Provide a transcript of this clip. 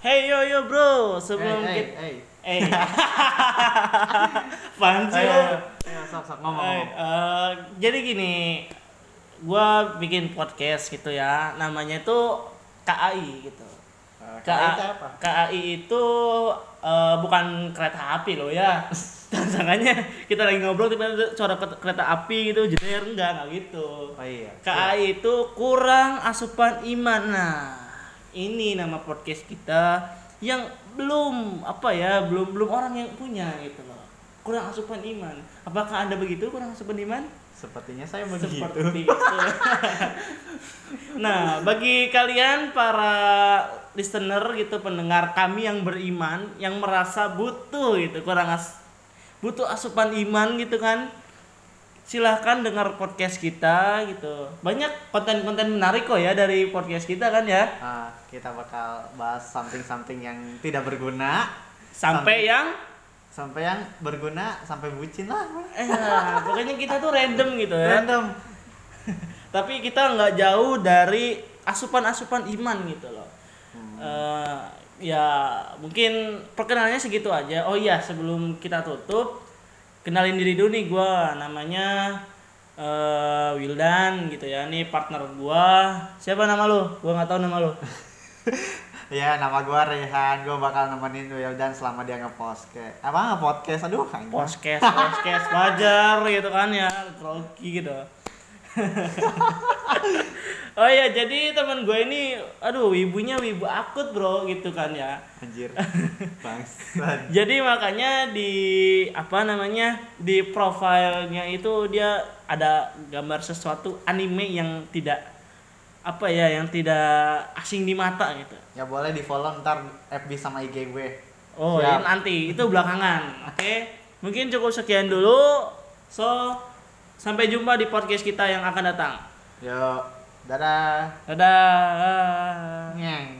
Hey yo yo bro, sebelum kita hey, hey, eh Apaan hey. sih Ayo, lo? ayo, ayo, sok, sok, ngomong, Eh, ngomong. eh, jadi gini, gua bikin podcast gitu ya. Namanya itu KAI gitu. Kak, itu apa? KAI itu eh, bukan kereta api loh ya. Tantangannya kita lagi ngobrol tiba-tiba ada suara ket- kereta api gitu, jeder enggak enggak gitu. Oh iya. KAI itu kurang asupan iman. Nah, ini nama podcast kita yang belum apa ya, belum belum orang yang punya gitu loh. Kurang asupan iman. Apakah Anda begitu kurang asupan iman? Sepertinya saya Gitu. begitu. Seperti itu. nah, bagi kalian para listener gitu pendengar kami yang beriman yang merasa butuh gitu kurang as butuh asupan iman gitu kan silahkan dengar podcast kita gitu banyak konten-konten menarik kok ya dari podcast kita kan ya Ah, kita bakal bahas something-something yang tidak berguna sampai yang sampai yang berguna sampai bucin lah eh, pokoknya kita tuh random gitu ya random tapi kita nggak jauh dari asupan-asupan iman gitu loh Eh, ya mungkin perkenalannya segitu aja oh iya sebelum kita tutup kenalin diri dulu nih gue namanya eh, Wildan gitu ya nih partner gue siapa nama lo gue nggak tahu nama lo ya nama gua Rehan gua bakal nemenin Wildan selama dia nge-podcast apa nge-podcast aduh anjing. podcast podcast wajar gitu kan ya grogi gitu oh iya jadi teman gue ini aduh ibunya wibu akut bro gitu kan ya anjir bangsat Jadi makanya di apa namanya di profilnya itu dia ada gambar sesuatu anime yang tidak apa ya yang tidak asing di mata gitu. ya boleh di follow ntar FB sama IG gue Oh Siap. ya nanti itu belakangan. Oke mungkin cukup sekian dulu. So sampai jumpa di podcast kita yang akan datang. yuk dadah Dadah. Nyeng.